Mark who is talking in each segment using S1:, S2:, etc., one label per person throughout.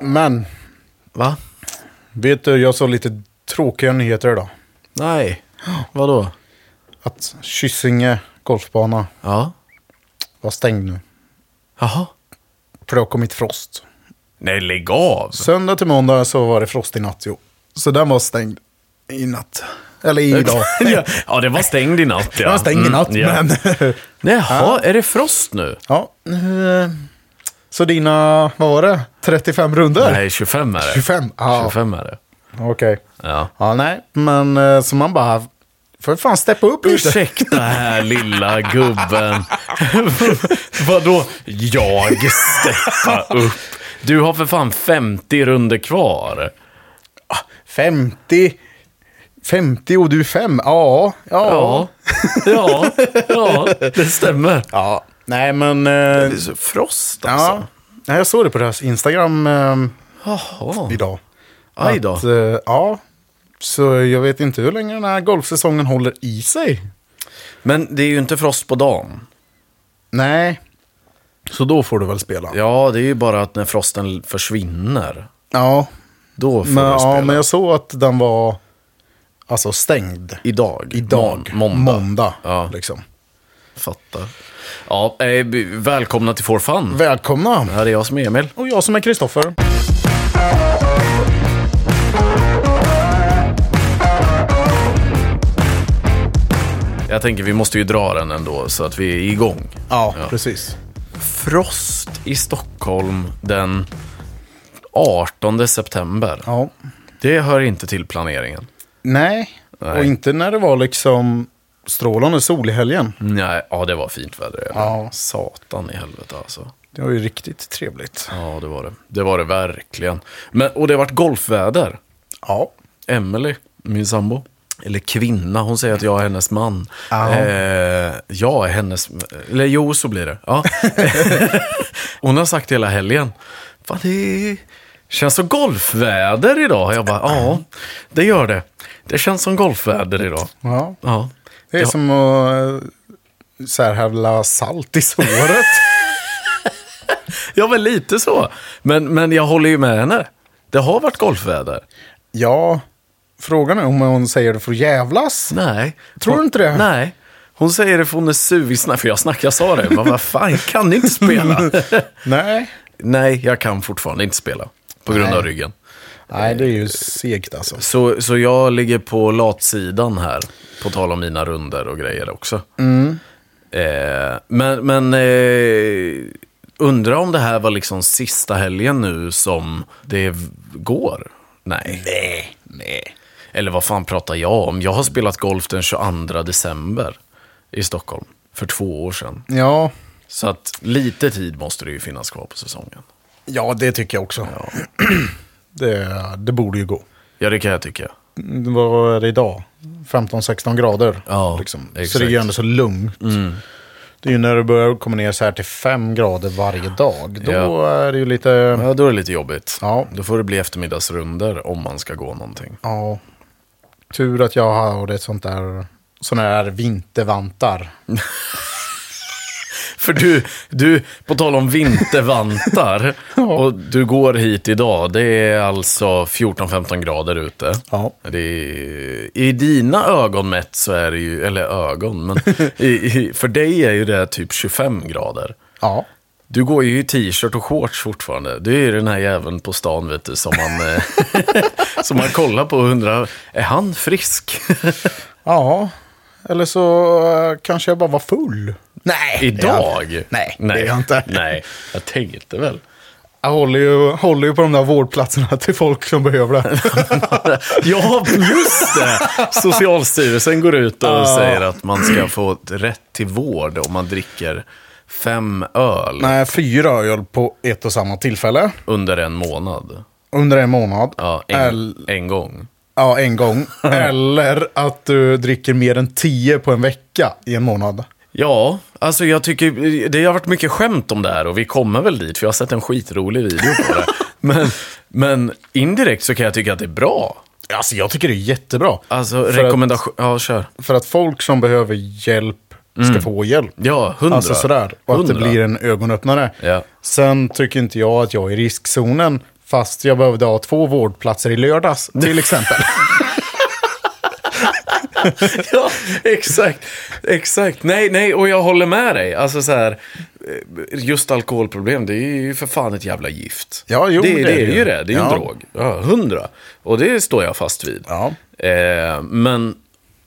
S1: Men,
S2: Va?
S1: vet du, jag såg lite tråkiga nyheter idag.
S2: Nej. Vadå?
S1: Att Kysinge golfbana
S2: Ja.
S1: var stängd nu.
S2: Jaha.
S1: För det har kommit frost.
S2: Nej, lägg av.
S1: Söndag till måndag så var det frost i natt, jo. Så den var stängd i natt. Eller i dag.
S2: ja, det var stängd i natt. Ja.
S1: Den var stängd i natt,
S2: Mm, ja.
S1: men...
S2: Jaha, är det frost nu?
S1: ja, nu... eh, Så dina, vad var det? 35 runder?
S2: Nej, 25 är det.
S1: 25? Ja,
S2: 25 är det.
S1: okej.
S2: Ja.
S1: Ja, nej, men eh, så man bara... Får fan steppa upp lite.
S2: Ursäkta här lilla gubben. Vadå? Jag steppa upp. Du har för fan 50 runder kvar.
S1: 50. 50 och du 5. Ja, ja.
S2: Ja, ja, ja, det stämmer.
S1: Ja, nej men... Eh,
S2: Frost alltså.
S1: ja. Nej, jag såg det på deras Instagram eh,
S2: Jaha.
S1: Oh. idag.
S2: Aj då.
S1: Att, eh, ja, så jag vet inte hur länge den här golfsäsongen håller i sig.
S2: Men det är ju inte frost på dagen.
S1: Nej, så då får du väl spela.
S2: Ja, det är ju bara att när frosten försvinner.
S1: Ja,
S2: Då får
S1: men,
S2: du spela.
S1: ja, men jag såg att den var alltså stängd.
S2: Idag.
S1: Idag,
S2: Mån- Måndag.
S1: måndag
S2: Ja.
S1: liksom.
S2: Fattar. Ja, eh, b- välkomna till For Fun.
S1: Välkomna!
S2: Här är jag som är Emil.
S1: Och jag som är Kristoffer.
S2: Jag tänker vi måste ju dra den ändå så att vi är igång.
S1: Ja, precis.
S2: Frost i Stockholm den 18 september.
S1: Ja.
S2: Det hör inte till planeringen.
S1: Nej.
S2: Nej.
S1: och inte när det var liksom strålande sol i helgen.
S2: Nej, ja det var fint väder.
S1: Ja.
S2: Satan i helvete alltså.
S1: Det var ju riktigt trevligt.
S2: Ja, det var det. Det var det verkligen. Men, och det har varit golfväder.
S1: Ja.
S2: Emily, min sambo. Eller kvinna, hon säger att jag är hennes man.
S1: Ja.
S2: Eh, jag är hennes... Eller jo, så blir det. Ja. hon har sagt hela helgen. Fan, det känns som golfväder idag. Jag bara, ja, det gör det. Det känns som golfväder idag.
S1: ja.
S2: Ja.
S1: Det är
S2: Ja.
S1: som att eh, så här hälla salt i såret.
S2: Ja, väl lite så. Men, men jag håller ju med henne. Det har varit golfväder.
S1: ja. Frågan är om hon säger det för att jävlas.
S2: Nej.
S1: Tror du
S2: hon,
S1: inte det?
S2: Nej. Hon säger det för hon är sugen. För jag snackade, jag sa det. Men vad fan, jag kan inte spela.
S1: Nej.
S2: nej, jag kan fortfarande inte spela. På grund av
S1: Nej.
S2: ryggen.
S1: Nej, det är ju segt alltså.
S2: Så, så jag ligger på latsidan här. På tal om mina runder och grejer också.
S1: Mm.
S2: Eh, men men eh, undra om det här var liksom sista helgen nu som det v- går. Nej.
S1: Nej. Nej.
S2: Eller vad fan pratar jag om? Jag har spelat golf den 22 december i Stockholm. För två år sedan.
S1: Ja.
S2: Så att lite tid måste det ju finnas kvar på säsongen.
S1: Ja, det tycker jag också. Det, det borde ju gå.
S2: Ja, det kan jag tycka.
S1: Mm, vad är det idag? 15-16 grader.
S2: Ja,
S1: liksom. Så
S2: exakt.
S1: det är ju ändå så lugnt. Det är ju när det börjar komma ner så här till 5 grader varje dag. Då
S2: Ja.
S1: är det ju lite...
S2: Ja, då är det lite jobbigt.
S1: Ja.
S2: Då får det bli eftermiddagsrunder om man ska gå någonting.
S1: Ja. Tur att jag har ett sånt där... Såna här vintervantar.
S2: För du, du på tal om vintervantar, och du går hit idag. Det är alltså 14-15 grader ute.
S1: Ja.
S2: Det är, I dina ögon mätt så är det ju, eller ögon, men i, i, för dig är ju det typ 25 grader.
S1: Ja.
S2: Du går ju i t-shirt och shorts fortfarande. Du är ju den här jäveln på stan vet du, som man, eh, som man kollar på och undrar, är han frisk?
S1: Ja. Eller så eh, kanske jag bara var full. Nej.
S2: Idag?
S1: Jag, nej, det är jag inte.
S2: Nej, jag tänkte väl.
S1: Jag håller ju, håller ju på de där vårdplatserna till folk som behöver det.
S2: Ja, just det! Socialstyrelsen går ut och säger att man ska få ett rätt till vård om man dricker fem öl
S1: Nej, fyra öl på ett och samma tillfälle.
S2: under en månad.
S1: Under en månad.
S2: Ja,
S1: Eller,
S2: en, en gång.
S1: ja, en gång. Eller att du dricker mer än tio på en vecka i en månad.
S2: Ja, alltså jag tycker det har varit mycket skämt om det här och vi kommer väl dit för jag har sett en skitrolig video på det. Men, men indirekt så kan jag tycka att det är bra.
S1: Alltså jag tycker det är jättebra.
S2: Alltså
S1: För att-
S2: rekommendation, ja kör.
S1: För att folk som behöver hjälp ska få hjälp.
S2: Mm. Ja, hundra.
S1: Alltså sådär. Och att det
S2: Hundra.
S1: blir en ögonöppnare.
S2: Ja.
S1: Sen tycker inte jag att jag är i riskzonen Fast jag behövde ha två vårdplatser i lördags, till exempel.
S2: ja, exakt. Exakt. Nej, nej, och jag håller med dig. Alltså så här, eh, just alkoholproblem, det är ju för fan ett jävla gift.
S1: Ja, jo,
S2: det,
S1: det
S2: det,
S1: är
S2: är
S1: det
S2: ju
S1: ju.
S2: det. Det är ju en
S1: Ja.
S2: drog. Ja, hundra. Och det står jag fast vid.
S1: Ja.
S2: Eh, men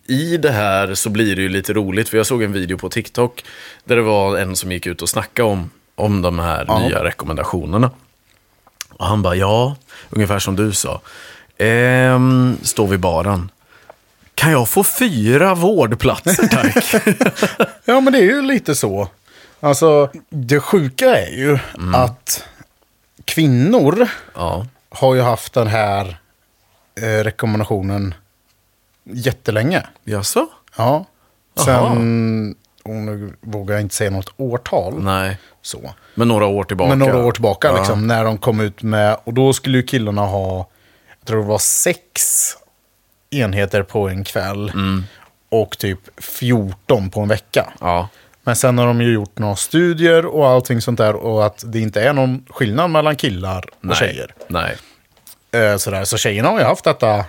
S2: i det här så blir det ju lite roligt, för jag såg en video på TikTok där det var en som gick ut och snackade om, om de här nya rekommendationerna. Och han bara, ja, ungefär som du sa. Ehm, står vid baren. Kan jag få fyra vårdplatser tack?
S1: Ja, men det är ju lite så. Alltså, det sjuka är ju
S2: Mm.
S1: att kvinnor
S2: ja.
S1: har ju haft den här eh, rekommendationen jättelänge.
S2: Jaså?
S1: Ja.
S2: Jaha.
S1: Sen, och nu vågar jag inte säga något årtal.
S2: Nej.
S1: Så.
S2: Men några år tillbaka.
S1: Men några år tillbaka,
S2: Ja.
S1: liksom, när de kom ut med, och då skulle ju killarna ha, jag tror det var sex enheter på en kväll.
S2: Mm.
S1: Och typ 14 på en vecka.
S2: Ja.
S1: Men sen har de ju gjort några studier och allting sånt där och att det inte är någon skillnad mellan killar och
S2: Nej.
S1: tjejer.
S2: Nej.
S1: Eh, sådär. Så tjejerna har ju haft detta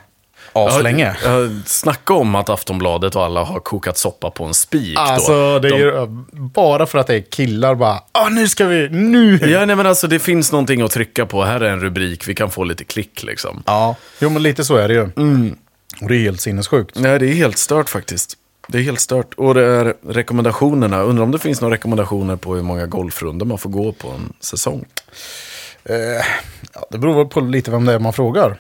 S2: Ja,
S1: aslänge.
S2: ja, Snacka om att Aftonbladet och alla har kokat soppa på en spik. då.
S1: Alltså, det är
S2: De-
S1: ju bara för att det är killar bara, ah, nu ska vi, nu!
S2: Ja, nej, men alltså det finns någonting att trycka på. Här är en rubrik, vi kan få lite klick liksom.
S1: Ja, jo men lite så är det ju.
S2: Mm.
S1: Och det är helt sinnessjukt.
S2: Nej, det är helt stört faktiskt. Det är helt stört. Och det är rekommendationerna. Undrar om det finns några rekommendationer på hur många golfrundor man får gå på en säsong.
S1: Eh, ja, det beror väl på lite vem det är man frågar.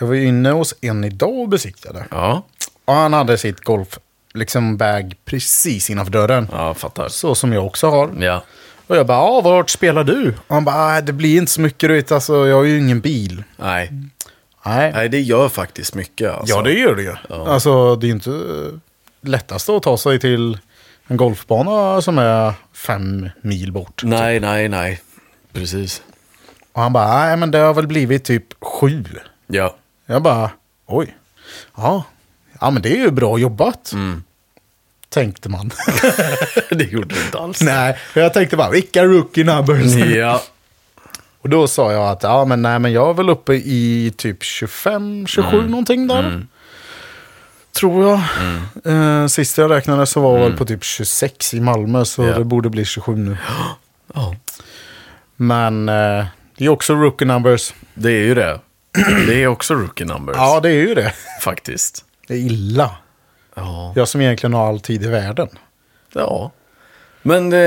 S1: Jag var ju inne hos en idag och besiktade.
S2: Ja,
S1: Och han hade sitt golf, liksom bag precis innanför dörren.
S2: ja jag fattar.
S1: Så som jag också har.
S2: Ja.
S1: Och jag bara, ja, vart spelar du? Och han bara, "Ah, det blir inte så mycket du vet, alltså, jag har ju ingen bil.
S2: Nej.
S1: Nej,
S2: Nej, det gör faktiskt mycket. Alltså.
S1: ja det gör det ju. Alltså det är ju inte eh, lättaste att ta sig till en golfbana som är fem mil bort.
S2: Nej, nej, nej. Precis.
S1: Och han bara, nej men det har väl blivit typ sju.
S2: Ja.
S1: Jag bara, oj. Ja, ja men det är ju bra jobbat.
S2: Mm.
S1: Tänkte man.
S2: det gjorde det inte alls.
S1: nej, jag tänkte bara, vilka rookie numbers.
S2: Ja.
S1: Och då sa jag att ja, men nej, men jag är väl uppe i typ 25, 27
S2: Mm.
S1: någonting där. Tror jag.
S2: Mm.
S1: Eh, sist jag räknade så var jag väl på typ 26 i Malmö, så
S2: Ja.
S1: det borde bli 27 nu.
S2: ja.
S1: Men eh, det är också rookie numbers.
S2: Det är ju det. Det är också rookie numbers.
S1: Ja, det är ju det.
S2: Faktiskt.
S1: Det är illa.
S2: Ja.
S1: Jag som egentligen har all tid i världen.
S2: Ja. Men eh,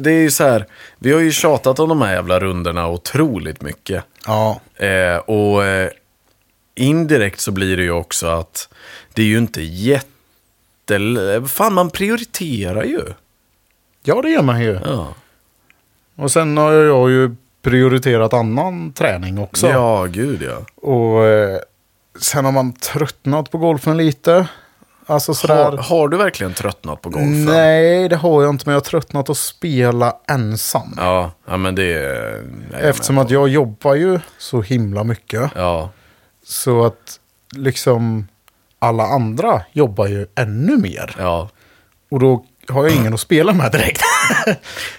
S2: det är ju så här, vi har ju tjatat om de här jävla rundorna otroligt mycket.
S1: Ja,
S2: Eh, och eh, indirekt så blir det ju också att det är ju inte jätte... eh, Fan, man prioriterar ju.
S1: ja det gör man ju.
S2: Ja,
S1: Och sen har jag ju prioriterat annan träning också.
S2: ja gud ja.
S1: Och eh, sen har man tröttnat på golfen lite. Alltså sådär.
S2: Har, har du verkligen tröttnat på golfen?
S1: Nej, det har jag inte, men jag har tröttnat att spela ensam.
S2: Ja, ja men det är... nej,
S1: Eftersom
S2: men-
S1: att jag jobbar ju så himla mycket.
S2: Ja,
S1: Så att liksom alla andra jobbar ju ännu mer.
S2: ja.
S1: Och då har jag ingen att spela med direkt.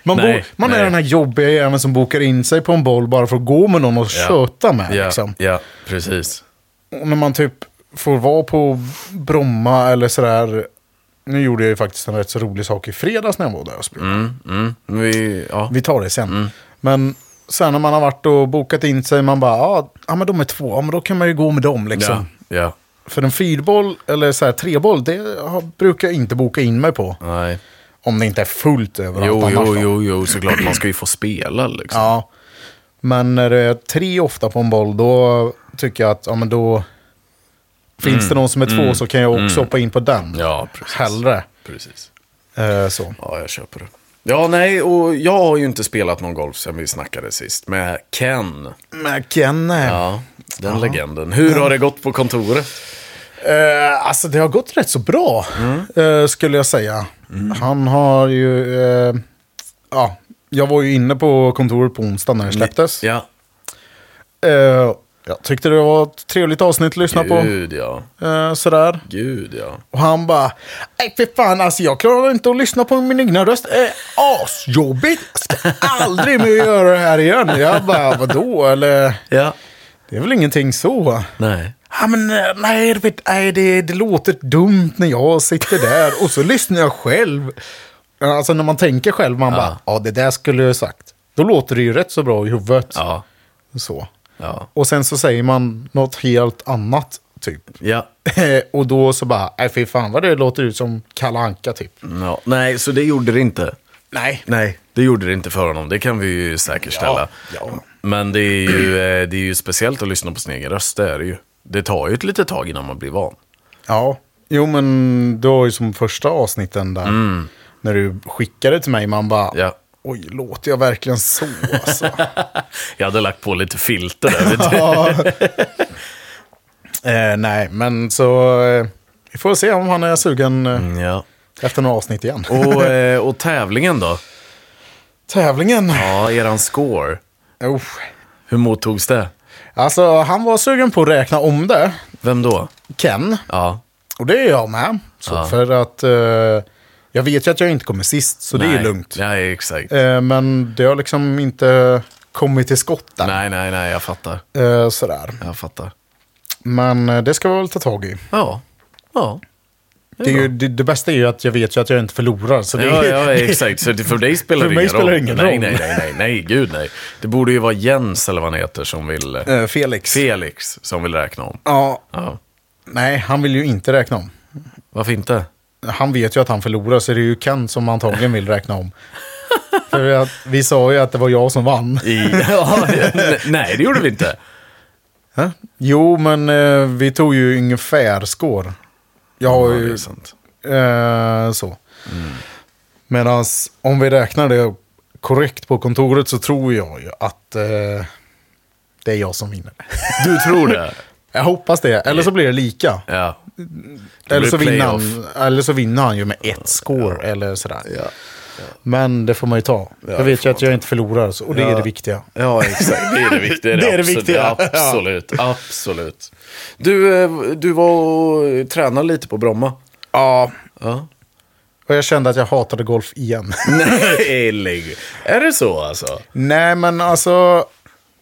S1: man
S2: Nej,
S1: bo- man
S2: nej.
S1: är den här jobbiga jäveln som bokar in sig på en boll bara för att gå med någon och
S2: Ja.
S1: köta med.
S2: Ja,
S1: Liksom.
S2: ja, precis.
S1: Och när man typ får vara på Bromma eller sådär. Nu gjorde jag ju faktiskt en rätt så rolig sak i fredags när jag var där och spelade.
S2: Mm, mm. Vi, ja.
S1: Vi tar det sen. Men sen när man har varit och bokat in sig, man bara, ah, ja men de är två, ja, men då kan man ju gå med dem liksom.
S2: ja, ja.
S1: För en fyrboll eller så här treboll, det har- brukar jag inte boka in mig på.
S2: Nej.
S1: Om det inte är fullt överallt
S2: Jo,
S1: annars.
S2: jo,
S1: då.
S2: jo, jo, såklart. Man ska ju få spela liksom.
S1: Ja. Men när det är tre ofta på en boll, då tycker jag att, ja men då finns det någon som är två så kan jag också hoppa in på den.
S2: Mm. Ja, precis.
S1: Hellre.
S2: Precis.
S1: Eh, så.
S2: Ja, jag köper det. Ja, nej, och jag har ju inte spelat någon golf sen vi snackade sist med Ken.
S1: Men Ken, eh,
S2: Ja, den legenden. Hur har det gått på kontoret?
S1: Eh, alltså det har gått rätt så bra,
S2: Mm.
S1: eh, skulle jag säga. Han har ju... Eh, ja, jag var ju inne på kontoret på onsdag när det släpptes.
S2: Ja,
S1: Eh, Jag tyckte det var ett trevligt avsnitt att lyssna på.
S2: Gud ja.
S1: Eh, sådär.
S2: Gud ja.
S1: Och han bara, nej för fan alltså jag klarar inte att lyssna på min egna röst. Eh, asjobbigt! Jag ska aldrig mer göra det här igen. Jag bara, vadå? Eller,
S2: Ja.
S1: det är väl ingenting så.
S2: Nej.
S1: Ja, men eh, nej, du vet, nej det, det låter dumt när jag sitter där och så lyssnar jag själv. Alltså när man tänker själv, man bara, ja det där skulle jag ha sagt. Då låter det ju rätt så bra i huvudet.
S2: Ja.
S1: Så.
S2: Ja.
S1: Och sen så säger man något helt annat, typ.
S2: Ja.
S1: och då så bara, nej fy fan vad det låter ut som Kalle Anka typ.
S2: ja. Nej, så det gjorde det inte.
S1: Nej.
S2: Nej. Det gjorde det inte för honom. Det kan vi ju säkerställa.
S1: Eh. Ja, ja.
S2: Men det är, ju, eh, det är ju speciellt att lyssna på sin egen röst. Det är det ju. Det tar ju ett litet tag innan man blir van.
S1: Ja. Jo men det var ju som första avsnitten där. När du skickade till mig, man bara,
S2: Mm. Ja.
S1: oj låter jag verkligen så alltså.
S2: Jag hade lagt på lite filter där. vet du.
S1: Ja. eh, nej, men så eh, vi får se om han är sugen eh,
S2: ja.
S1: efter några avsnitt igen.
S2: och, eh, och tävlingen då?
S1: Tävlingen.
S2: Ja, eran score.
S1: Oh.
S2: Hur mottogs det?
S1: Alltså, han var sugen på att räkna om det,
S2: Vem då?
S1: Ken.
S2: Ja.
S1: Och det är jag med. Så För att eh, jag vet ju att jag inte kommer sist, så det är
S2: Nej.
S1: lugnt.
S2: Nej, exakt.
S1: Eh, men det har liksom inte kommit till skott där.
S2: Nej, nej, nej, jag fattar.
S1: Eh, sådär.
S2: Jag fattar.
S1: Men eh, det ska vi väl ta tag i.
S2: Ja. Ja.
S1: Det, är ju, det, det bästa är ju att jag vet ju att jag inte förlorar. Så det,
S2: Ja, ja, exakt. Så det- för dig spelar
S1: För
S2: det
S1: mig
S2: ingen
S1: spelar det
S2: roll.
S1: ingen
S2: nej,
S1: roll.
S2: Nej, nej, nej, nej, gud nej. Det borde ju vara Jens eller vad han heter som vill...
S1: Eh, Felix.
S2: Felix som vill räkna om.
S1: ja,
S2: Ja.
S1: Nej, han vill ju inte räkna om.
S2: Varför inte?
S1: Han vet ju att han förlorar, så det är ju Ken som antagligen vill räkna om. För vi, att, vi sa ju att det var jag som vann.
S2: I... ja, n- nej, det gjorde vi inte.
S1: Jo, men eh, vi tog ju ungefär skår. Jag har
S2: Ja, det
S1: ju...
S2: är sant.
S1: Eh, så. Medan om vi räknar det korrekt på kontoret så tror jag ju att eh, det är jag som vinner.
S2: Du tror det?
S1: Jag hoppas det, eller så blir det lika.
S2: Ja.
S1: Eller
S2: blir
S1: så, vinner han,
S2: playoff.
S1: eller så vinner han ju med ett score eller sådär. Men det får man ju ta. jag vet ju att jag inte förlorar, så, och det är det viktiga.
S2: Ja, exakt. Det är det viktiga.
S1: Det är det
S2: absolut-
S1: viktiga.
S2: Absolut. Absolut. Du, eh, du var och tränade lite på Bromma.
S1: Ja.
S2: Ja.
S1: Och jag kände att jag hatade golf igen.
S2: Nej, lägg. Är det så alltså?
S1: Nej, men alltså,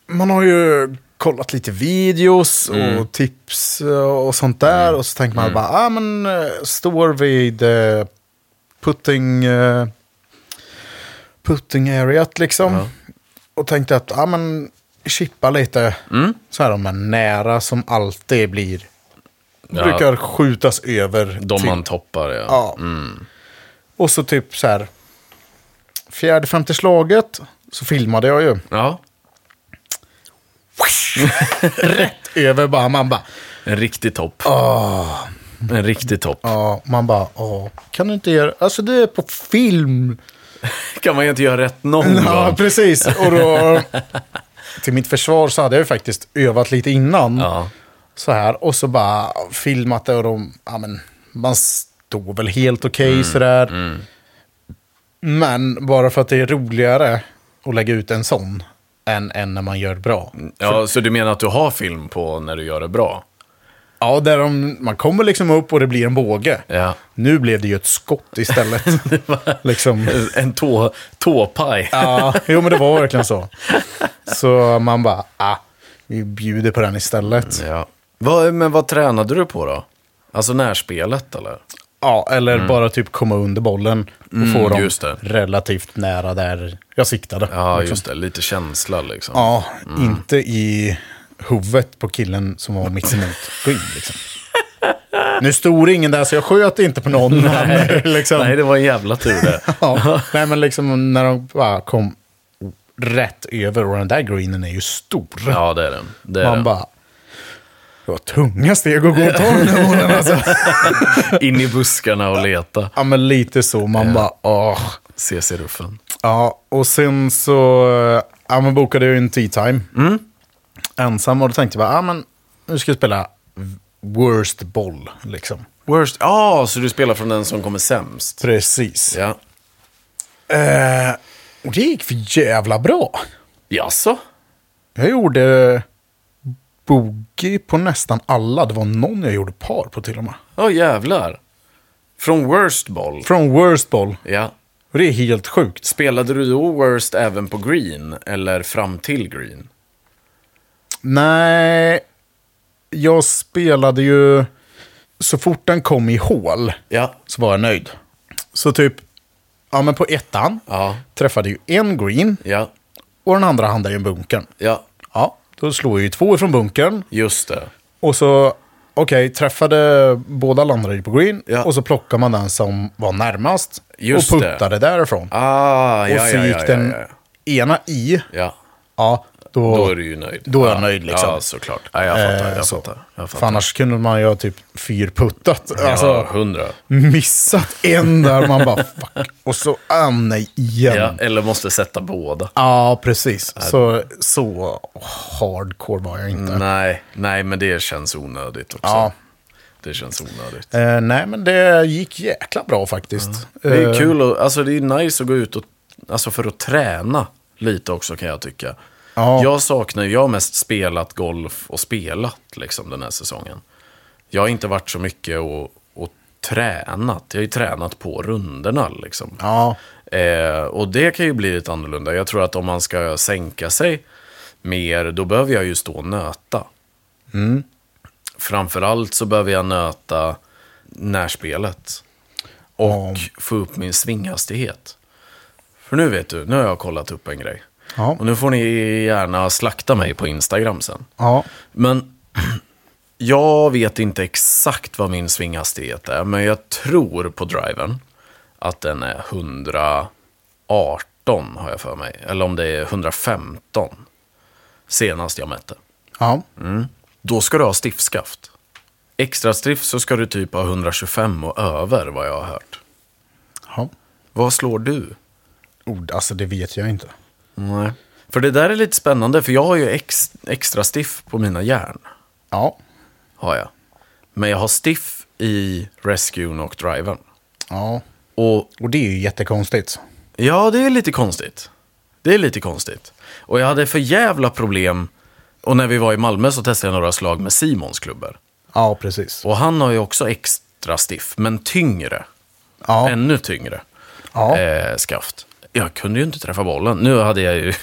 S1: man har ju kollat lite videos och
S2: Mm.
S1: tips och sånt där. Och så tänker man bara, ah, men eh, står vid eh, putting, eh, putting areat liksom. Och tänkte att, ah, men chippa lite.
S2: Mm.
S1: Så här de här nära som alltid blir,
S2: Ja.
S1: brukar skjutas över.
S2: De
S1: till-
S2: man toppar, ja.
S1: Typ. Ja. Och så typ så här, fjärde, femte slaget så filmade jag ju.
S2: ja.
S1: över bara. Man bara,
S2: En riktig topp.
S1: Ah.
S2: En riktig topp.
S1: ja, man bara, ja, kan du inte göra, alltså det är på film.
S2: Kan man ju inte göra rätt någon
S1: Mm. Ja,
S2: gång.
S1: precis. Och då, till mitt försvar så hade jag ju faktiskt övat lite innan.
S2: Ja.
S1: Så här, och så bara filmat det och de, ja men, man står väl helt okej sådär. Men bara för att det är roligare att lägga ut en sån än, än när man gör det bra.
S2: ja, så du menar att du har film på när du gör det bra?
S1: Ja, där de, man kommer liksom upp och det blir en båge.
S2: Ja.
S1: Nu blev det ju ett skott istället. liksom.
S2: En tå, tåpaj.
S1: Ja, jo men det var verkligen så. Så man bara, ah, vi bjuder på den istället.
S2: Ja. Vad, men vad tränade du på då? Alltså närspelet eller?
S1: Ja, eller bara typ komma under bollen och få dem
S2: Mm. just det.
S1: relativt nära där jag siktade.
S2: Ja,
S1: liksom.
S2: just det. Lite känsla liksom.
S1: ja inte i huvudet på killen som var mitt emot skyn. Liksom. Nu stod det ingen där så jag sköt inte på någon. Nej, men, liksom,
S2: Nej, det var en jävla tur det.
S1: Ja, nej men liksom när de bara kom rätt över och den där greenen är ju stor.
S2: Ja, det är den. Det är
S1: Man
S2: den.
S1: bara... Det var tunga steg att gå och ta den där bollen alltså.
S2: In i buskarna och leta.
S1: Ja men lite så, man bara åh.
S2: CC-ruffen.
S1: Ja, och sen så eh, ja, men bokade jag ju en tea time.
S2: Mm.
S1: Ensam och då tänkte jag bara, ja men nu ska jag spela worst boll liksom.
S2: Worst. Ja, så du spelar från den som kommer sämst.
S1: Precis.
S2: Ja.
S1: Eh, och det gick för jävla bra.
S2: Jaså?
S1: Jag gjorde boogie på nästan alla. Det var någon jag gjorde par på till och med.
S2: Ja, jävlar. Från Worst Ball.
S1: Från Worst Ball.
S2: Ja.
S1: Och det är helt sjukt.
S2: Spelade du då Worst även på Green? Eller fram till Green?
S1: Nej, jag spelade ju... Så fort den kom i hål
S2: Ja.
S1: så var jag nöjd. Så typ, ja men på ettan
S2: Ja.
S1: träffade ju en green
S2: Ja.
S1: och den andra handlade ju i bunkern.
S2: Ja.
S1: Ja, då slog jag ju två ifrån bunkern
S2: Just det.
S1: och så, okej, träffade båda landade ju på green
S2: Ja.
S1: och så plockade man den som var närmast
S2: Just
S1: och
S2: det.
S1: puttade därifrån.
S2: Ah, ja,
S1: och så
S2: ja,
S1: gick
S2: ja,
S1: den
S2: ja, ja.
S1: ena i,
S2: ja.
S1: ja, då,
S2: Då är du ju nöjd.
S1: Då är jag
S2: Ja.
S1: nöjd, liksom.
S2: Ja, såklart. Ja, jag fattar.
S1: Eh,
S2: Jag
S1: så.
S2: fattar. Jag
S1: För
S2: fattar.
S1: annars kunde man ju ha typ fyrputtat.
S2: Ja,
S1: Alltså,
S2: hundra.
S1: missat en där man bara fuck. Och så, ah, nej, igen.
S2: Ja,
S1: Ja,
S2: eller måste sätta båda.
S1: precis. Så, så hardcore var jag inte.
S2: Nej, nej, men det känns onödigt också.
S1: Mm. Ja.
S2: Det känns onödigt.
S1: Eh, nej, men det gick jäkla bra faktiskt.
S2: Det är
S1: Eh,
S2: kul och, alltså det är nice att gå ut och, alltså för att träna lite också kan jag tycka.
S1: Ja.
S2: Jag saknar, jag har mest spelat golf och spelat liksom den här säsongen. Jag har inte varit så mycket och, och tränat. Jag har ju tränat på runderna liksom.
S1: Ja,
S2: Eh, och det kan ju bli lite annorlunda. Jag tror att om man ska sänka sig mer, då behöver jag ju stå och nöta. Mm. Framförallt så behöver jag nöta närspelet
S1: och...
S2: och få upp min svinghastighet. För nu vet du, nu har jag kollat upp en grej.
S1: Ja,
S2: Och nu får ni gärna slakta mig på Instagram sen.
S1: ja,
S2: Men jag vet inte exakt vad min svinghastighet är, men jag tror på driven att den är 118 har jag för mig, eller om det är 115 senast jag mätte.
S1: ja.
S2: Då ska du ha stiftskaft. Extra stift så ska du typ ha 125 och över vad jag har hört.
S1: ja.
S2: Vad slår du?
S1: Ord, alltså det vet jag inte.
S2: Nej. För det där är lite spännande, för jag har ju ex, extra stiff på mina järn.
S1: Ja,
S2: Har jag. Men jag har stiff i rescuen och driven.
S1: ja.
S2: Och
S1: Och det är ju jättekonstigt.
S2: ja, det är lite konstigt. Det är lite konstigt. Och jag hade för jävla problem. Och när vi var i Malmö så testade jag några slag med Simons klubbor.
S1: Ja, precis.
S2: Och han har ju också extra stiff, men tyngre.
S1: Ja,
S2: Ännu tyngre
S1: ja.
S2: eh, skaft. Jag kunde ju inte träffa bollen. Nu hade jag ju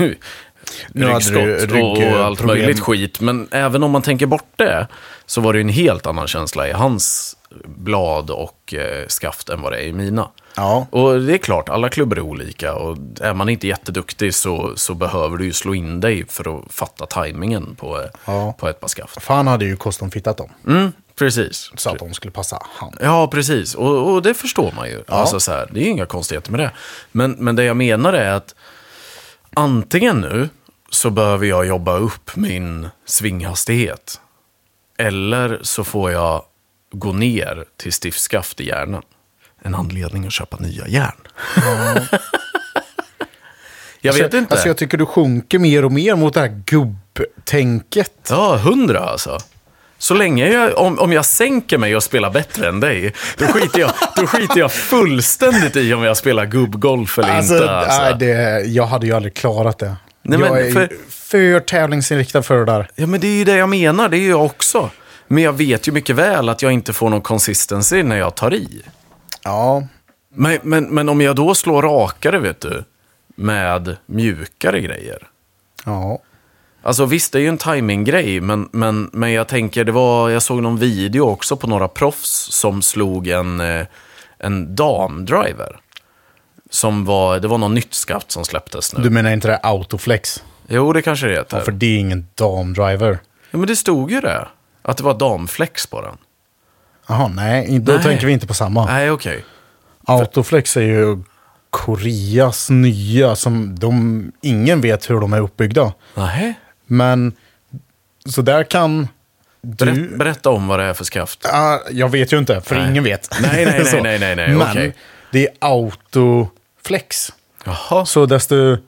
S1: Nu hade du ju
S2: ryggskott och, och allt
S1: ryggproblem.
S2: möjligt skit. Men även om man tänker bort det så var det ju en helt annan känsla i hans blad och eh, skaft än vad det är i mina.
S1: Ja.
S2: Och det är klart, alla klubbor är olika och är man inte jätteduktig så, så behöver du ju slå in dig för att fatta tajmingen på, eh,
S1: Ja.
S2: på ett par skaft.
S1: Fan hade ju custom-fittat dem.
S2: Mm, precis.
S1: Så att de skulle passa han.
S2: Ja, precis. Och, och det förstår man ju. Alltså, så här, det är ju inga konstigheter med det. Men, men det jag menar är att antingen nu så behöver jag jobba upp min svinghastighet. Eller så får jag gå ner till stiftskaft i hjärnan. En anledning att köpa nya järn. jag vet
S1: Alltså,
S2: inte.
S1: Alltså jag tycker du sjunker mer och mer mot det här gubbtänket.
S2: Ja, hundra alltså. Så länge jag, om, om jag sänker mig och spelar bättre än dig, då skiter jag, då skiter jag fullständigt i om jag spelar gubbgolf eller
S1: Alltså,
S2: inte. Alltså.
S1: Nej, det, jag hade ju aldrig klarat det.
S2: Nej,
S1: jag
S2: men
S1: är
S2: för-
S1: för... för tävlingsinriktad för det där.
S2: Ja, men det är ju det jag menar, det är ju jag också. Men jag vet ju mycket väl att jag inte får någon consistency när jag tar i.
S1: Ja,
S2: Men, men, men om jag då slår rakare, vet du, med mjukare grejer.
S1: ja,
S2: Alltså visst, det är ju en timing-grej, men, men, men jag tänker, det var, jag såg någon video också på några proffs som slog en, eh, en damdriver. Som var, det var någon nytt skaft som släpptes nu.
S1: du menar inte det här autoflex?
S2: Jo, det kanske det heter.
S1: För det är ingen damdriver.
S2: Ja, men det stod ju det. Att det var damflex på den.
S1: Jaha, nej, då
S2: Nej.
S1: tänker vi inte på samma.
S2: Nej, okej.
S1: Autoflex är ju Koreas nya, som de, ingen vet hur de är uppbyggda.
S2: Nej.
S1: Men, så där kan du...
S2: Berä- berätta om vad det är för skaft.
S1: Ah, jag vet ju inte, för
S2: Nej.
S1: ingen vet.
S2: Nej, nej, nej,
S1: Så.
S2: nej, nej, nej,
S1: Men
S2: okej.
S1: det är autoflex.
S2: Jaha.
S1: Så desto...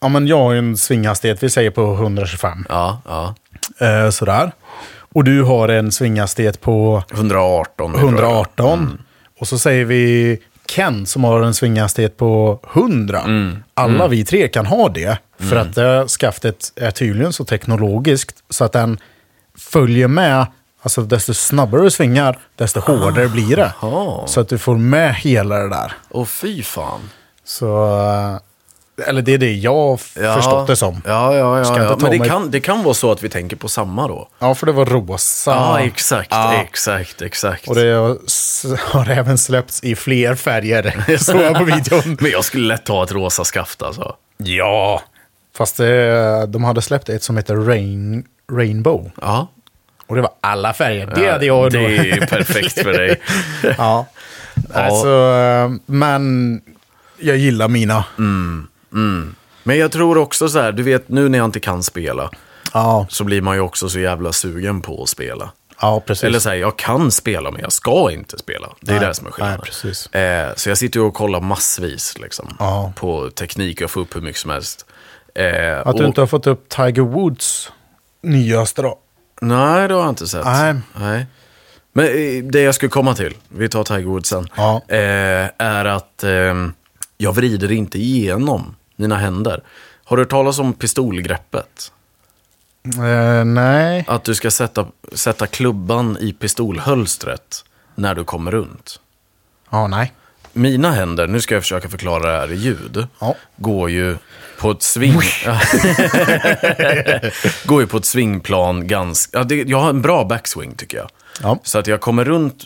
S1: Ja, men jag har ju en svinghastighet, vi säger på 125.
S2: Ja, ja.
S1: Eh, sådär. Och du har en svinghastighet på
S2: 118. tror jag.
S1: 118.
S2: Mm.
S1: Och så säger vi Ken som har en svinghastighet på 100.
S2: Mm.
S1: Alla vi tre kan ha det. För att det skaftet är tydligen så teknologiskt så att den följer med, alltså desto snabbare du svingar, desto hårdare blir det.
S2: Jaha.
S1: Så att du får med hela det där.
S2: Och fy fan.
S1: Så, eh, eller det är det jag har f-
S2: Ja.
S1: förstått det som.
S2: Ja, ja,
S1: Ska
S2: ja.
S1: inte
S2: ja.
S1: ta
S2: Men det
S1: mig-
S2: kan, det kan vara så att vi tänker på samma då.
S1: Ja, för det var rosa.
S2: Ja, exakt,
S1: Ja.
S2: exakt, exakt.
S1: Och det har s- har även släppts i fler färger, såg jag på videon.
S2: Men jag skulle lätt ta ett rosa skaft alltså.
S1: ja. Fast det, de hade släppt ett som heter Rain, Rainbow.
S2: Ja.
S1: Och det var alla färger. Det hade jag
S2: Det
S1: då.
S2: är ju perfekt för dig.
S1: Ja. Alltså, eh, men jag gillar mina.
S2: Mm. Men jag tror också så här, du vet nu när jag inte kan spela
S1: Ja,
S2: så blir man ju också så jävla sugen på att spela.
S1: ja, precis.
S2: Eller så här, jag kan spela men jag ska inte spela. Det är
S1: Nej,
S2: det som är skillnaden.
S1: nej, precis.
S2: Eh, så jag sitter ju och kollar massvis liksom,
S1: Ja.
S2: på teknik och får upp hur mycket som helst. Eh,
S1: Att
S2: och,
S1: du inte har fått upp Tiger Woods nyaste då.
S2: Nej, det har jag inte sett.
S1: Nej.
S2: Men eh, det jag skulle komma till, vi tar Tiger Woods sen,
S1: Ja.
S2: eh, är att eh, jag vrider inte igenom mina händer. Har du hört talas om pistolgreppet?
S1: Eh, nej.
S2: Att du ska sätta, sätta klubban i pistolhölstret när du kommer runt.
S1: Ja, nej.
S2: Mina händer, nu ska jag försöka förklara det här i ljud,
S1: Ja.
S2: går ju på ett sving... går ju på ett svingplan ganska... Ja, det, jag har en bra backswing tycker jag.
S1: Ja.
S2: Så att jag kommer runt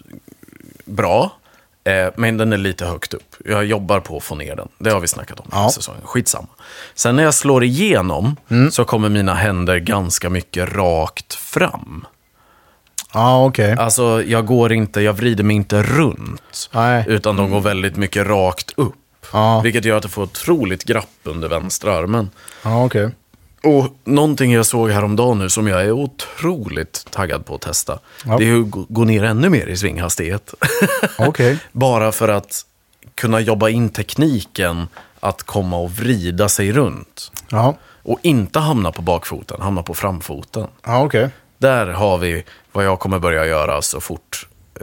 S2: bra, eh, men den är lite högt upp. Jag jobbar på att få ner den. Det har vi snackat om
S1: Ja. Mm.
S2: ja. säsongen. Skitsamma. Sen när jag slår igenom så kommer mina händer ganska mycket rakt fram.
S1: Ja, okej.
S2: Alltså, jag går inte, jag vrider mig inte runt.
S1: Nej.
S2: Utan de går väldigt mycket rakt upp.
S1: Ja.
S2: Vilket gör att du får otroligt grapp under vänstra armen.
S1: Ja, okej.
S2: Och någonting jag såg häromdagen nu som jag är otroligt taggad på att testa.
S1: Ja.
S2: Det är att gå- gå ner ännu mer i svinghastighet.
S1: Okej.
S2: Bara för att kunna jobba in tekniken att komma och vrida sig runt.
S1: Ja,
S2: Och inte hamna på bakfoten, hamna på framfoten.
S1: ja okej.
S2: Där har vi vad jag kommer börja göra så fort eh,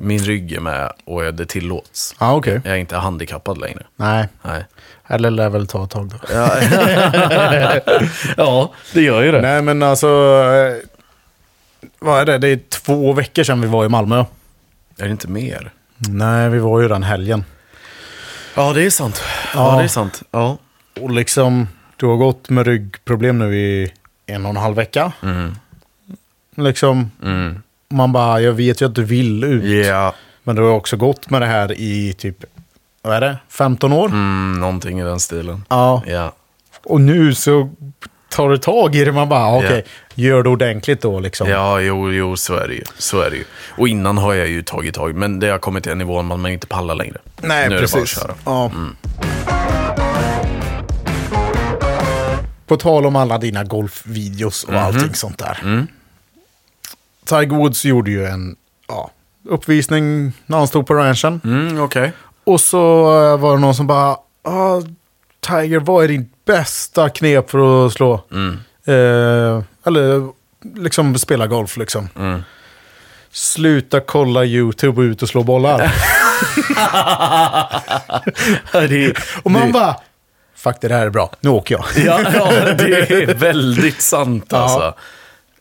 S2: min rygg är med och det tillåts.
S1: Ja, okej.
S2: Jag är inte handikappad längre.
S1: Nej.
S2: Nej.
S1: Eller lär väl ta ett tag då.
S2: Ja, det gör ju det.
S1: Nej, men alltså. eh, Vad är det? Det är två veckor sedan vi var i Malmö.
S2: Är det inte mer?
S1: Nej, vi var ju den helgen.
S2: Ja, det är sant. Ja,
S1: Ja.
S2: det är sant. Ja.
S1: Och liksom, du har gått med ryggproblem nu i en och en halv vecka. Liksom, man bara, jag vet ju att du vill ut.
S2: Ja.
S1: Men du har också gått med det här i typ, vad är det, 15 år?
S2: Mm, någonting i den stilen.
S1: Ja.
S2: Ja.
S1: Och nu så tar du tag i det. Man bara, okej, gör det ordentligt då liksom.
S2: Ja, jo, jo, så är det ju. Så är det ju. Och innan har jag ju tagit tag, men det har kommit till en nivå man man inte pallar längre.
S1: Nej,
S2: nu
S1: precis.
S2: Är det bara att köra. Mm.
S1: Ja. På tal om alla dina golfvideos
S2: Mhm.
S1: och allting sånt där.
S2: Mm.
S1: Tiger Woods gjorde ju en ja, uppvisning när han stod på ranchen.
S2: Mm, okej.
S1: Och så eh, var det någon som bara, ah, Tiger, vad är ditt bästa knep för att slå?
S2: Mm.
S1: Eh, eller liksom spela golf liksom.
S2: Mm.
S1: Sluta kolla YouTube och ut och slå bollar.
S2: Det är-
S1: Och man bara, fuck det där är bra, nu åker jag.
S2: Ja, ja, det är väldigt sant alltså.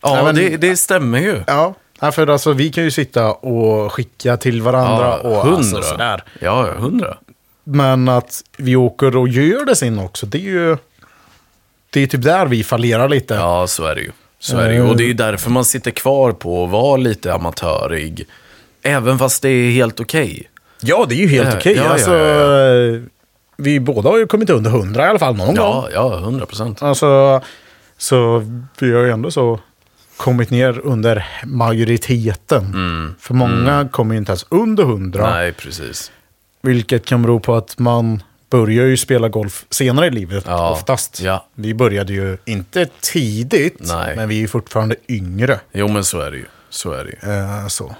S2: Ja,
S1: Nej, men-
S2: det, det stämmer ju.
S1: Ja, nej, för alltså, vi kan ju sitta och skicka till varandra
S2: Ja,
S1: och alltså, sådär.
S2: Ja, ja, hundra.
S1: Men att vi åker och gör det sen också, det är ju... Det är typ där vi fallerar lite.
S2: Ja, Eh. så är det ju. Så är det ju. Och det är ju därför man sitter kvar på att vara lite amatörig. Även fast det är helt okej.
S1: Ja, det är ju helt
S2: Ja,
S1: okej.
S2: ja, ja,
S1: alltså, Vi båda har ju kommit under 100 i alla fall någon gång.
S2: Ja, ja, hundra procent.
S1: Alltså, så vi har ju ändå så kommit ner under majoriteten.
S2: Mm.
S1: För många kommer ju inte ens under 100.
S2: Nej, precis.
S1: Vilket kan bero på att man börjar ju spela golf senare i livet
S2: Ja.
S1: oftast.
S2: Ja.
S1: Vi började ju inte tidigt,
S2: Nej.
S1: men vi är ju fortfarande yngre.
S2: Jo, men så är det ju. Så är det ju.
S1: Eh, så.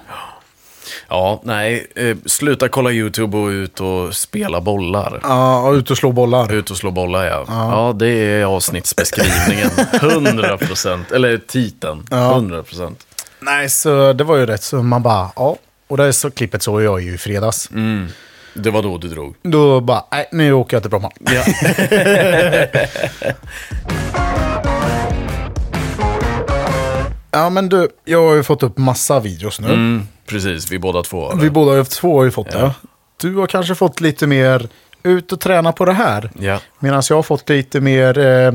S2: Ja, nej. Eh, sluta kolla YouTube och ut och spela bollar.
S1: Ja, och ut och slå bollar.
S2: Ut och slå bollar, ja. Ja, det är avsnittsbeskrivningen. 100 procent. Eller titeln. 100 procent.
S1: Nej, så det var ju rätt så man bara, ja. Och det är så klippet såg jag ju i fredags.
S2: Mm. Det var då du drog.
S1: Då bara, nej, nu åker jag till Bromma.
S2: Ja.
S1: Ja men du, jag har ju fått upp massa videos nu.
S2: Mm, precis, vi båda två har
S1: Vi
S2: det.
S1: båda har ju haft två har ju fått det. Du har kanske fått lite mer ut och träna på det här.
S2: Ja.
S1: Medan jag har fått lite mer eh,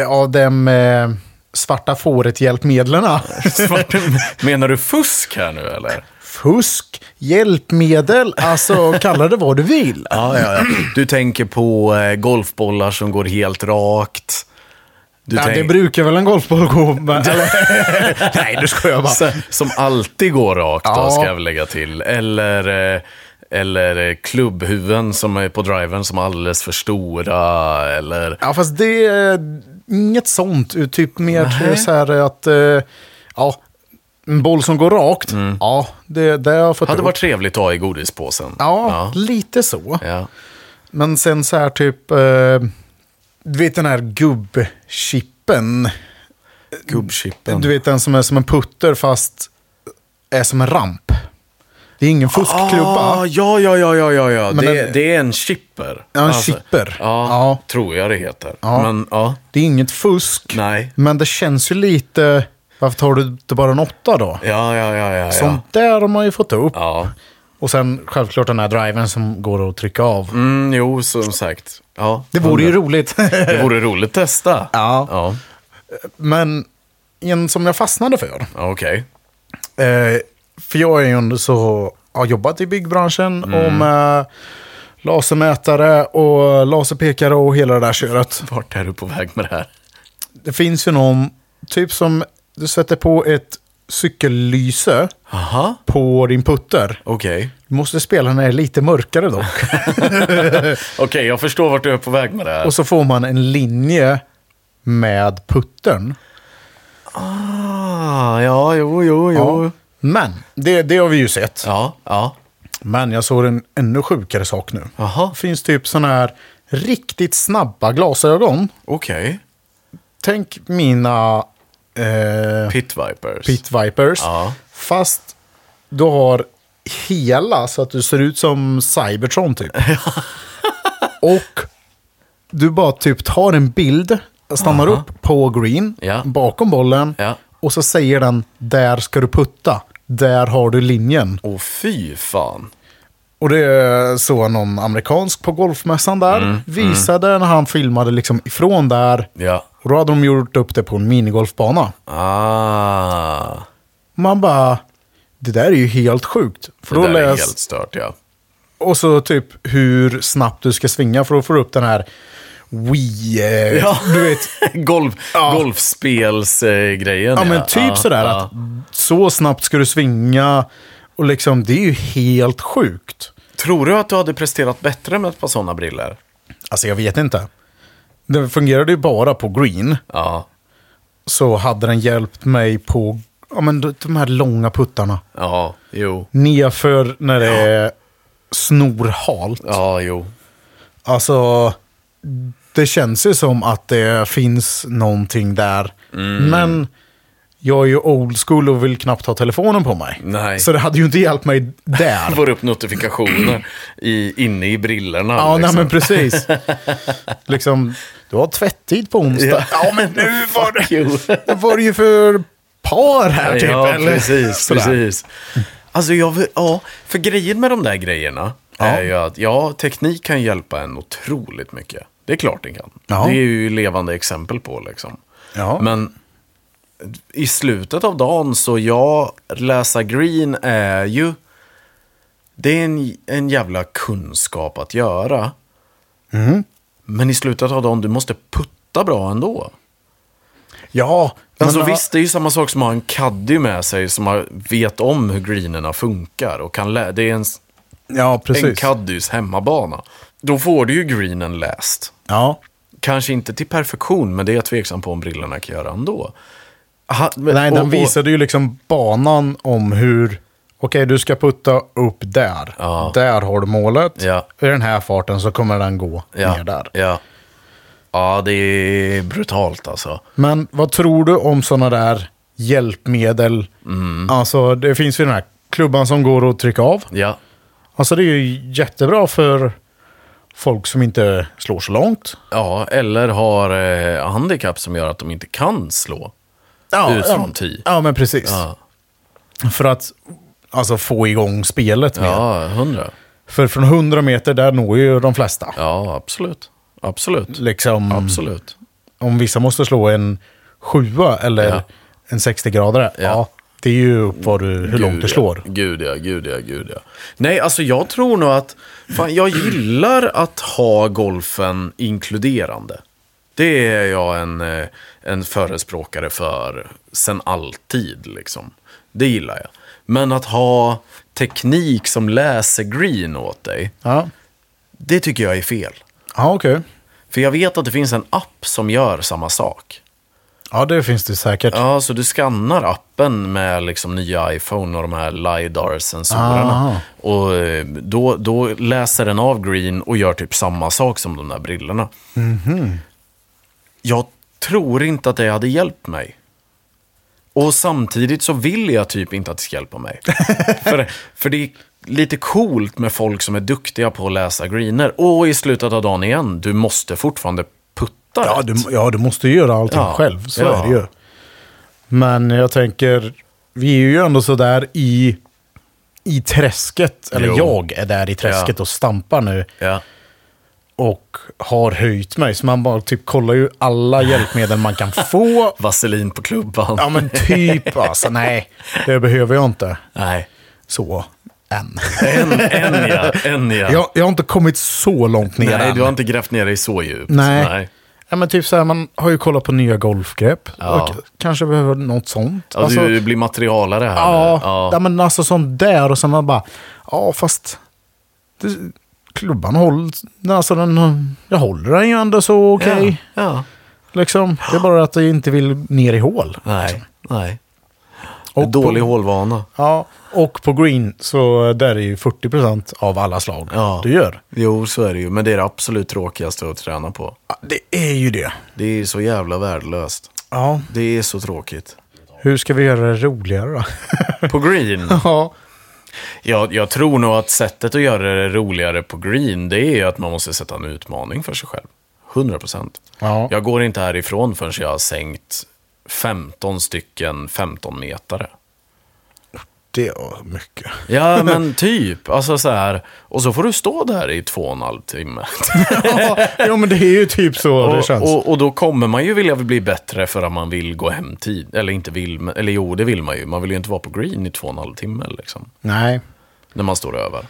S1: eh, av dem eh, svarta fåret-hjälpmedlen.
S2: Menar du fusk här nu eller?
S1: Fusk, hjälpmedel, alltså kalla det vad du vill.
S2: Ja, ja, ja. Du tänker på eh, golfbollar som går helt rakt. Du
S1: Ja,
S2: tänk-
S1: det brukar väl en golfboll gå med? eller- Nej, du skojar bara.
S2: Så- Som alltid går rakt då,
S1: Ja.
S2: ska jag väl lägga till. Eller, eh, eller eh, klubbhuven som är på driven som är alldeles för stora. Eller...
S1: Ja, fast det är inget sånt. Typ mer
S2: Nej.
S1: så här att... eh, Ja, en boll som går rakt. Ja, det, det har jag fått
S2: Hade
S1: upp.
S2: varit trevligt att ha i godispåsen.
S1: Ja, lite så.
S2: Ja.
S1: Men sen så här typ... eh, Du vet den här gubbchippen.
S2: Gubbchippen.
S1: Du vet den som är som en putter fast är som en ramp. Det är ingen fuskklubba.
S2: Ah, ja, ja, ja, ja, ja. ja.
S1: Men
S2: Det,
S1: den-
S2: det är en chipper. Alltså,
S1: Ja, en chipper.
S2: Ja,
S1: Ja.
S2: tror jag det heter.
S1: Ja.
S2: Men ja,
S1: Det är inget fusk.
S2: nej.
S1: Men det känns ju lite... Varför tar du inte bara en åtta då?
S2: Ja, ja, ja, ja. ja.
S1: Sånt där har man ju fått upp.
S2: ja.
S1: Och sen självklart den här driven som går att trycka av.
S2: Mm, jo, som sagt. Ja,
S1: Det vore ju roligt.
S2: det vore roligt att testa.
S1: Ja.
S2: ja.
S1: Men en som jag fastnade för.
S2: Ja, Okej.
S1: Eh, för jag är ju ändå så, har jobbat i byggbranschen och med lasermätare och laserpekare och hela det där köret.
S2: Vart är du på väg med det här?
S1: Det finns ju någon, typ som du sätter på ett cykellyse
S2: Aha.
S1: på din putter.
S2: Okej.
S1: Du måste spela när det är lite mörkare dock.
S2: Okej, jag förstår vart du är på väg med det här.
S1: och så får man en linje med puttern.
S2: Ah, ja, jo, jo,
S1: Ja. Men, det, det har vi ju sett.
S2: Ja, ja.
S1: Men jag såg en ännu sjukare sak nu.
S2: Jaha,
S1: Det finns typ sådana här riktigt snabba glasögon.
S2: okej.
S1: Tänk mina eh,
S2: Pit Vipers.
S1: Pit Vipers.
S2: Ja.
S1: Fast du har hela så att du ser ut som Cybertron typ. Och du bara typ tar en bild, stannar
S2: Aha.
S1: upp på green,
S2: Ja.
S1: bakom bollen.
S2: Ja.
S1: Och så säger den, där ska du putta. Där har du linjen.
S2: Åh, fy fan.
S1: Och det såg någon amerikansk på golfmässan där. visade när han filmade liksom ifrån där.
S2: Mm. Ja.
S1: Och då hade de gjort upp det på en minigolfbana.
S2: Ah.
S1: Man bara, det där är ju helt sjukt. För
S2: Det
S1: då
S2: där är
S1: läs,
S2: helt stört, ja.
S1: och så typ hur snabbt du ska svinga för då får du upp den här Wii, eh,
S2: Ja.
S1: du vet.
S2: Golf,
S1: Ja.
S2: Golfspelsgrejen,
S1: Ja men typ sådär
S2: ja.
S1: att så snabbt ska du svinga. Och liksom det är ju helt sjukt.
S2: Tror du att du hade presterat bättre med ett par sådana briller?
S1: Alltså jag vet inte. Den fungerade ju bara på green.
S2: Ja.
S1: så hade den hjälpt mig på ja, men de- de här långa puttarna.
S2: Ja, jo.
S1: Nerför när det är snorhalt.
S2: Ja, jo.
S1: Alltså, det känns ju som att det finns någonting där.
S2: Mm.
S1: Men jag är ju old school och vill knappt ha telefonen på mig.
S2: Nej.
S1: Så det hade ju inte hjälpt mig där.
S2: Får upp notifikationer i, inne i brillorna.
S1: Ja, nej
S2: liksom.
S1: men precis. liksom, du har tvättid på onsdag.
S2: Ja.
S1: Ja, men nu var det,
S2: Jo.
S1: det var det ju för par här typ.
S2: ja,
S1: eller?
S2: precis.
S1: Sådär.
S2: precis. Alltså, jag, vill- ja, för grejen med de där grejerna är ju att ja, teknik kan hjälpa en otroligt mycket. Det är klart den kan.
S1: Ja.
S2: Det är ju levande exempel på liksom.
S1: Ja.
S2: Men i slutet av dagen så ja, läsa green är ju... Det är en, en jävla kunskap att göra.
S1: Mm.
S2: Men i slutet av dagen, du måste putta bra ändå.
S1: Ja,
S2: Alltså
S1: men,
S2: visst, det är ju samma sak som att ha en caddy med sig som har, vet om hur greenerna funkar. Och kan lä- det är en,
S1: Ja,
S2: en
S1: precis.
S2: caddys hemmabana. Då får du ju greenen läst.
S1: ja.
S2: Kanske inte till perfektion, men det är jag tveksam på om brillorna kan göra ändå. Ha, men-
S1: Nej,
S2: och-
S1: den
S2: och-
S1: visade ju liksom banan om hur... Okej, du ska putta upp där.
S2: Ja.
S1: Där har du målet.
S2: Ja.
S1: I den här farten så kommer den gå
S2: ja,
S1: ner där.
S2: Ja. ja, det är brutalt alltså.
S1: Men vad tror du om sådana där hjälpmedel?
S2: Mm.
S1: Alltså, det finns ju den här klubban som går att trycka av.
S2: Ja,
S1: Alltså, det är ju jättebra för folk som inte slår så långt.
S2: ja eller har eh, handikapp som gör att de inte kan slå.
S1: Ja,
S2: ut
S1: ja.
S2: från 10.
S1: Ja, men precis.
S2: Ja.
S1: För att alltså, få igång spelet mer.
S2: ja, 100.
S1: För från 100 meter, där når ju de flesta.
S2: Ja, absolut. Absolut.
S1: Liksom,
S2: Absolut.
S1: Om vissa måste slå en sjua eller
S2: Ja.
S1: en 60-gradare, ja. det är ju upp vad du, hur långt
S2: Gud,
S1: du
S2: ja.
S1: slår.
S2: Gud ja, gud ja, gud ja. Nej, alltså jag tror nog att, fan jag gillar att ha golfen inkluderande. Det är jag en, eh, en förespråkare för sen alltid liksom. Det gillar jag. Men att ha teknik som läser green åt dig,
S1: Ja,
S2: det tycker jag är fel.
S1: ja okej.
S2: För jag vet att det finns en app som gör samma sak.
S1: Ja, det finns det säkert.
S2: Ja, så du skannar appen med liksom nya iPhone och de här LiDAR-sensorerna.
S1: Ah.
S2: Och eh, då, då läser den av green och gör typ samma sak som de där brillorna.
S1: Mhm.
S2: Jag tror inte att det hade hjälpt mig. Och samtidigt så vill jag typ inte att det ska hjälpa mig. för, för det är lite coolt med folk som är duktiga på att läsa greener. Och i slutet av dagen igen, du måste fortfarande putta
S1: Ja
S2: rätt.
S1: du, ja, du måste ju göra allting
S2: Ja.
S1: själv. Så
S2: Ja.
S1: är det ju. Men jag tänker, vi är ju ändå sådär i, i träsket. Eller
S2: Jo.
S1: jag är där i träsket och stampar nu.
S2: Ja.
S1: Och har höjt mig. Så man bara typ kollar ju alla hjälpmedel man kan få.
S2: Vaselin på klubban.
S1: Ja men typ alltså, nej. Det behöver jag inte.
S2: Nej.
S1: Så, än.
S2: En, en ja. En ja.
S1: Jag, jag har inte kommit så långt ner
S2: Nej,
S1: än.
S2: du har inte grävt ner dig så djupt.
S1: Nej. Ja, men typ så här, man har ju kollat på nya golfgrepp.
S2: Ja.
S1: Och kanske behöver något sånt.
S2: Alltså,
S1: Alltså-
S2: du blir materialare här
S1: Ja,
S2: nu. Ja.
S1: ja. men alltså sånt där och sen man bara, ja fast det, klubban håller, alltså den, jag håller den ju ändå så okej.
S2: Ja. ja.
S1: Liksom. Det är bara att jag inte vill ner i hål.
S2: Nej. Nej.
S1: Och
S2: Dålig
S1: på,
S2: hålvana.
S1: Ja, och på green så där är ju 40% av alla slag
S2: Ja.
S1: du gör.
S2: Jo, så är det ju. Men det är det absolut tråkigaste att träna på.
S1: Ja, Det är ju det.
S2: Det är så jävla värdelöst.
S1: Ja.
S2: Det är så tråkigt.
S1: Hur ska vi göra det roligare då?
S2: På green?
S1: ja.
S2: Jag, jag tror nog att sättet att göra det roligare på green, det är ju att man måste sätta en utmaning för sig själv. 100 procent.
S1: Ja.
S2: Jag går inte härifrån förrän jag har sänkt 15 stycken 15-metare.
S1: Det är mycket.
S2: Ja, men typ. Alltså så här. Och så får du stå där i två och en halv timme.
S1: ja, jo, men det är ju typ så det
S2: Och,
S1: känns.
S2: och, och då kommer man ju vilja bli bättre för att man vill gå hem tid. Eller inte vill, men- eller jo, det vill man ju. Man vill ju inte vara på green i två och en halv timme liksom.
S1: Nej.
S2: När man står över.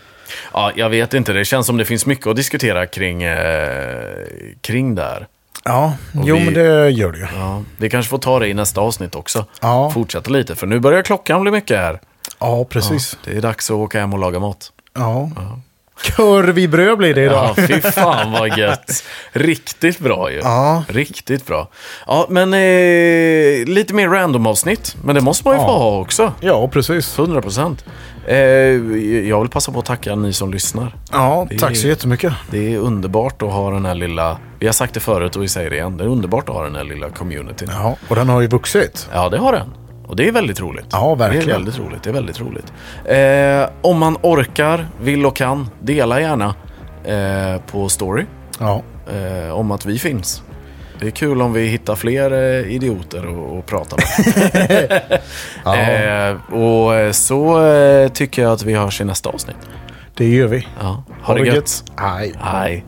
S2: Ja, jag vet inte. Det känns som det finns mycket att diskutera kring, eh, kring där.
S1: Ja, jo
S2: vi-
S1: men det gör det ju.
S2: Ja, vi kanske får ta det i nästa avsnitt också.
S1: Ja.
S2: Fortsätta lite, för nu börjar klockan bli mycket här.
S1: Ja, precis.
S2: Det är dags att åka hem och laga mat.
S1: Ja. Korv i bröd blir det
S2: Ja,
S1: idag.
S2: fy fan vad gött. Riktigt bra ju.
S1: Ja.
S2: Riktigt bra. Ja, men eh, lite mer random-avsnitt. Men det måste man ju få
S1: Ja.
S2: ha också.
S1: Ja, precis.
S2: 100 procent. Eh, jag vill passa på att tacka ni som lyssnar.
S1: Ja,
S2: Det-
S1: tack så jättemycket.
S2: Det är underbart att ha den här lilla... Vi har sagt det förut och vi säger det igen. Det är underbart att ha den här lilla communityn.
S1: Ja, och den har ju vuxit.
S2: Ja, det har den. Och det är väldigt roligt.
S1: Ja, verkligen.
S2: Det är väldigt roligt. Det är väldigt roligt. Eh, om man orkar, vill och kan, dela gärna eh, på story
S1: Ja,
S2: eh, om att vi finns. Det är kul om vi hittar fler eh, idioter och, och prata med. eh, och eh, så eh, tycker jag att vi hörs i nästa avsnitt.
S1: det gör vi.
S2: Ja. Ha, det gött.
S1: Hej.
S2: Hej.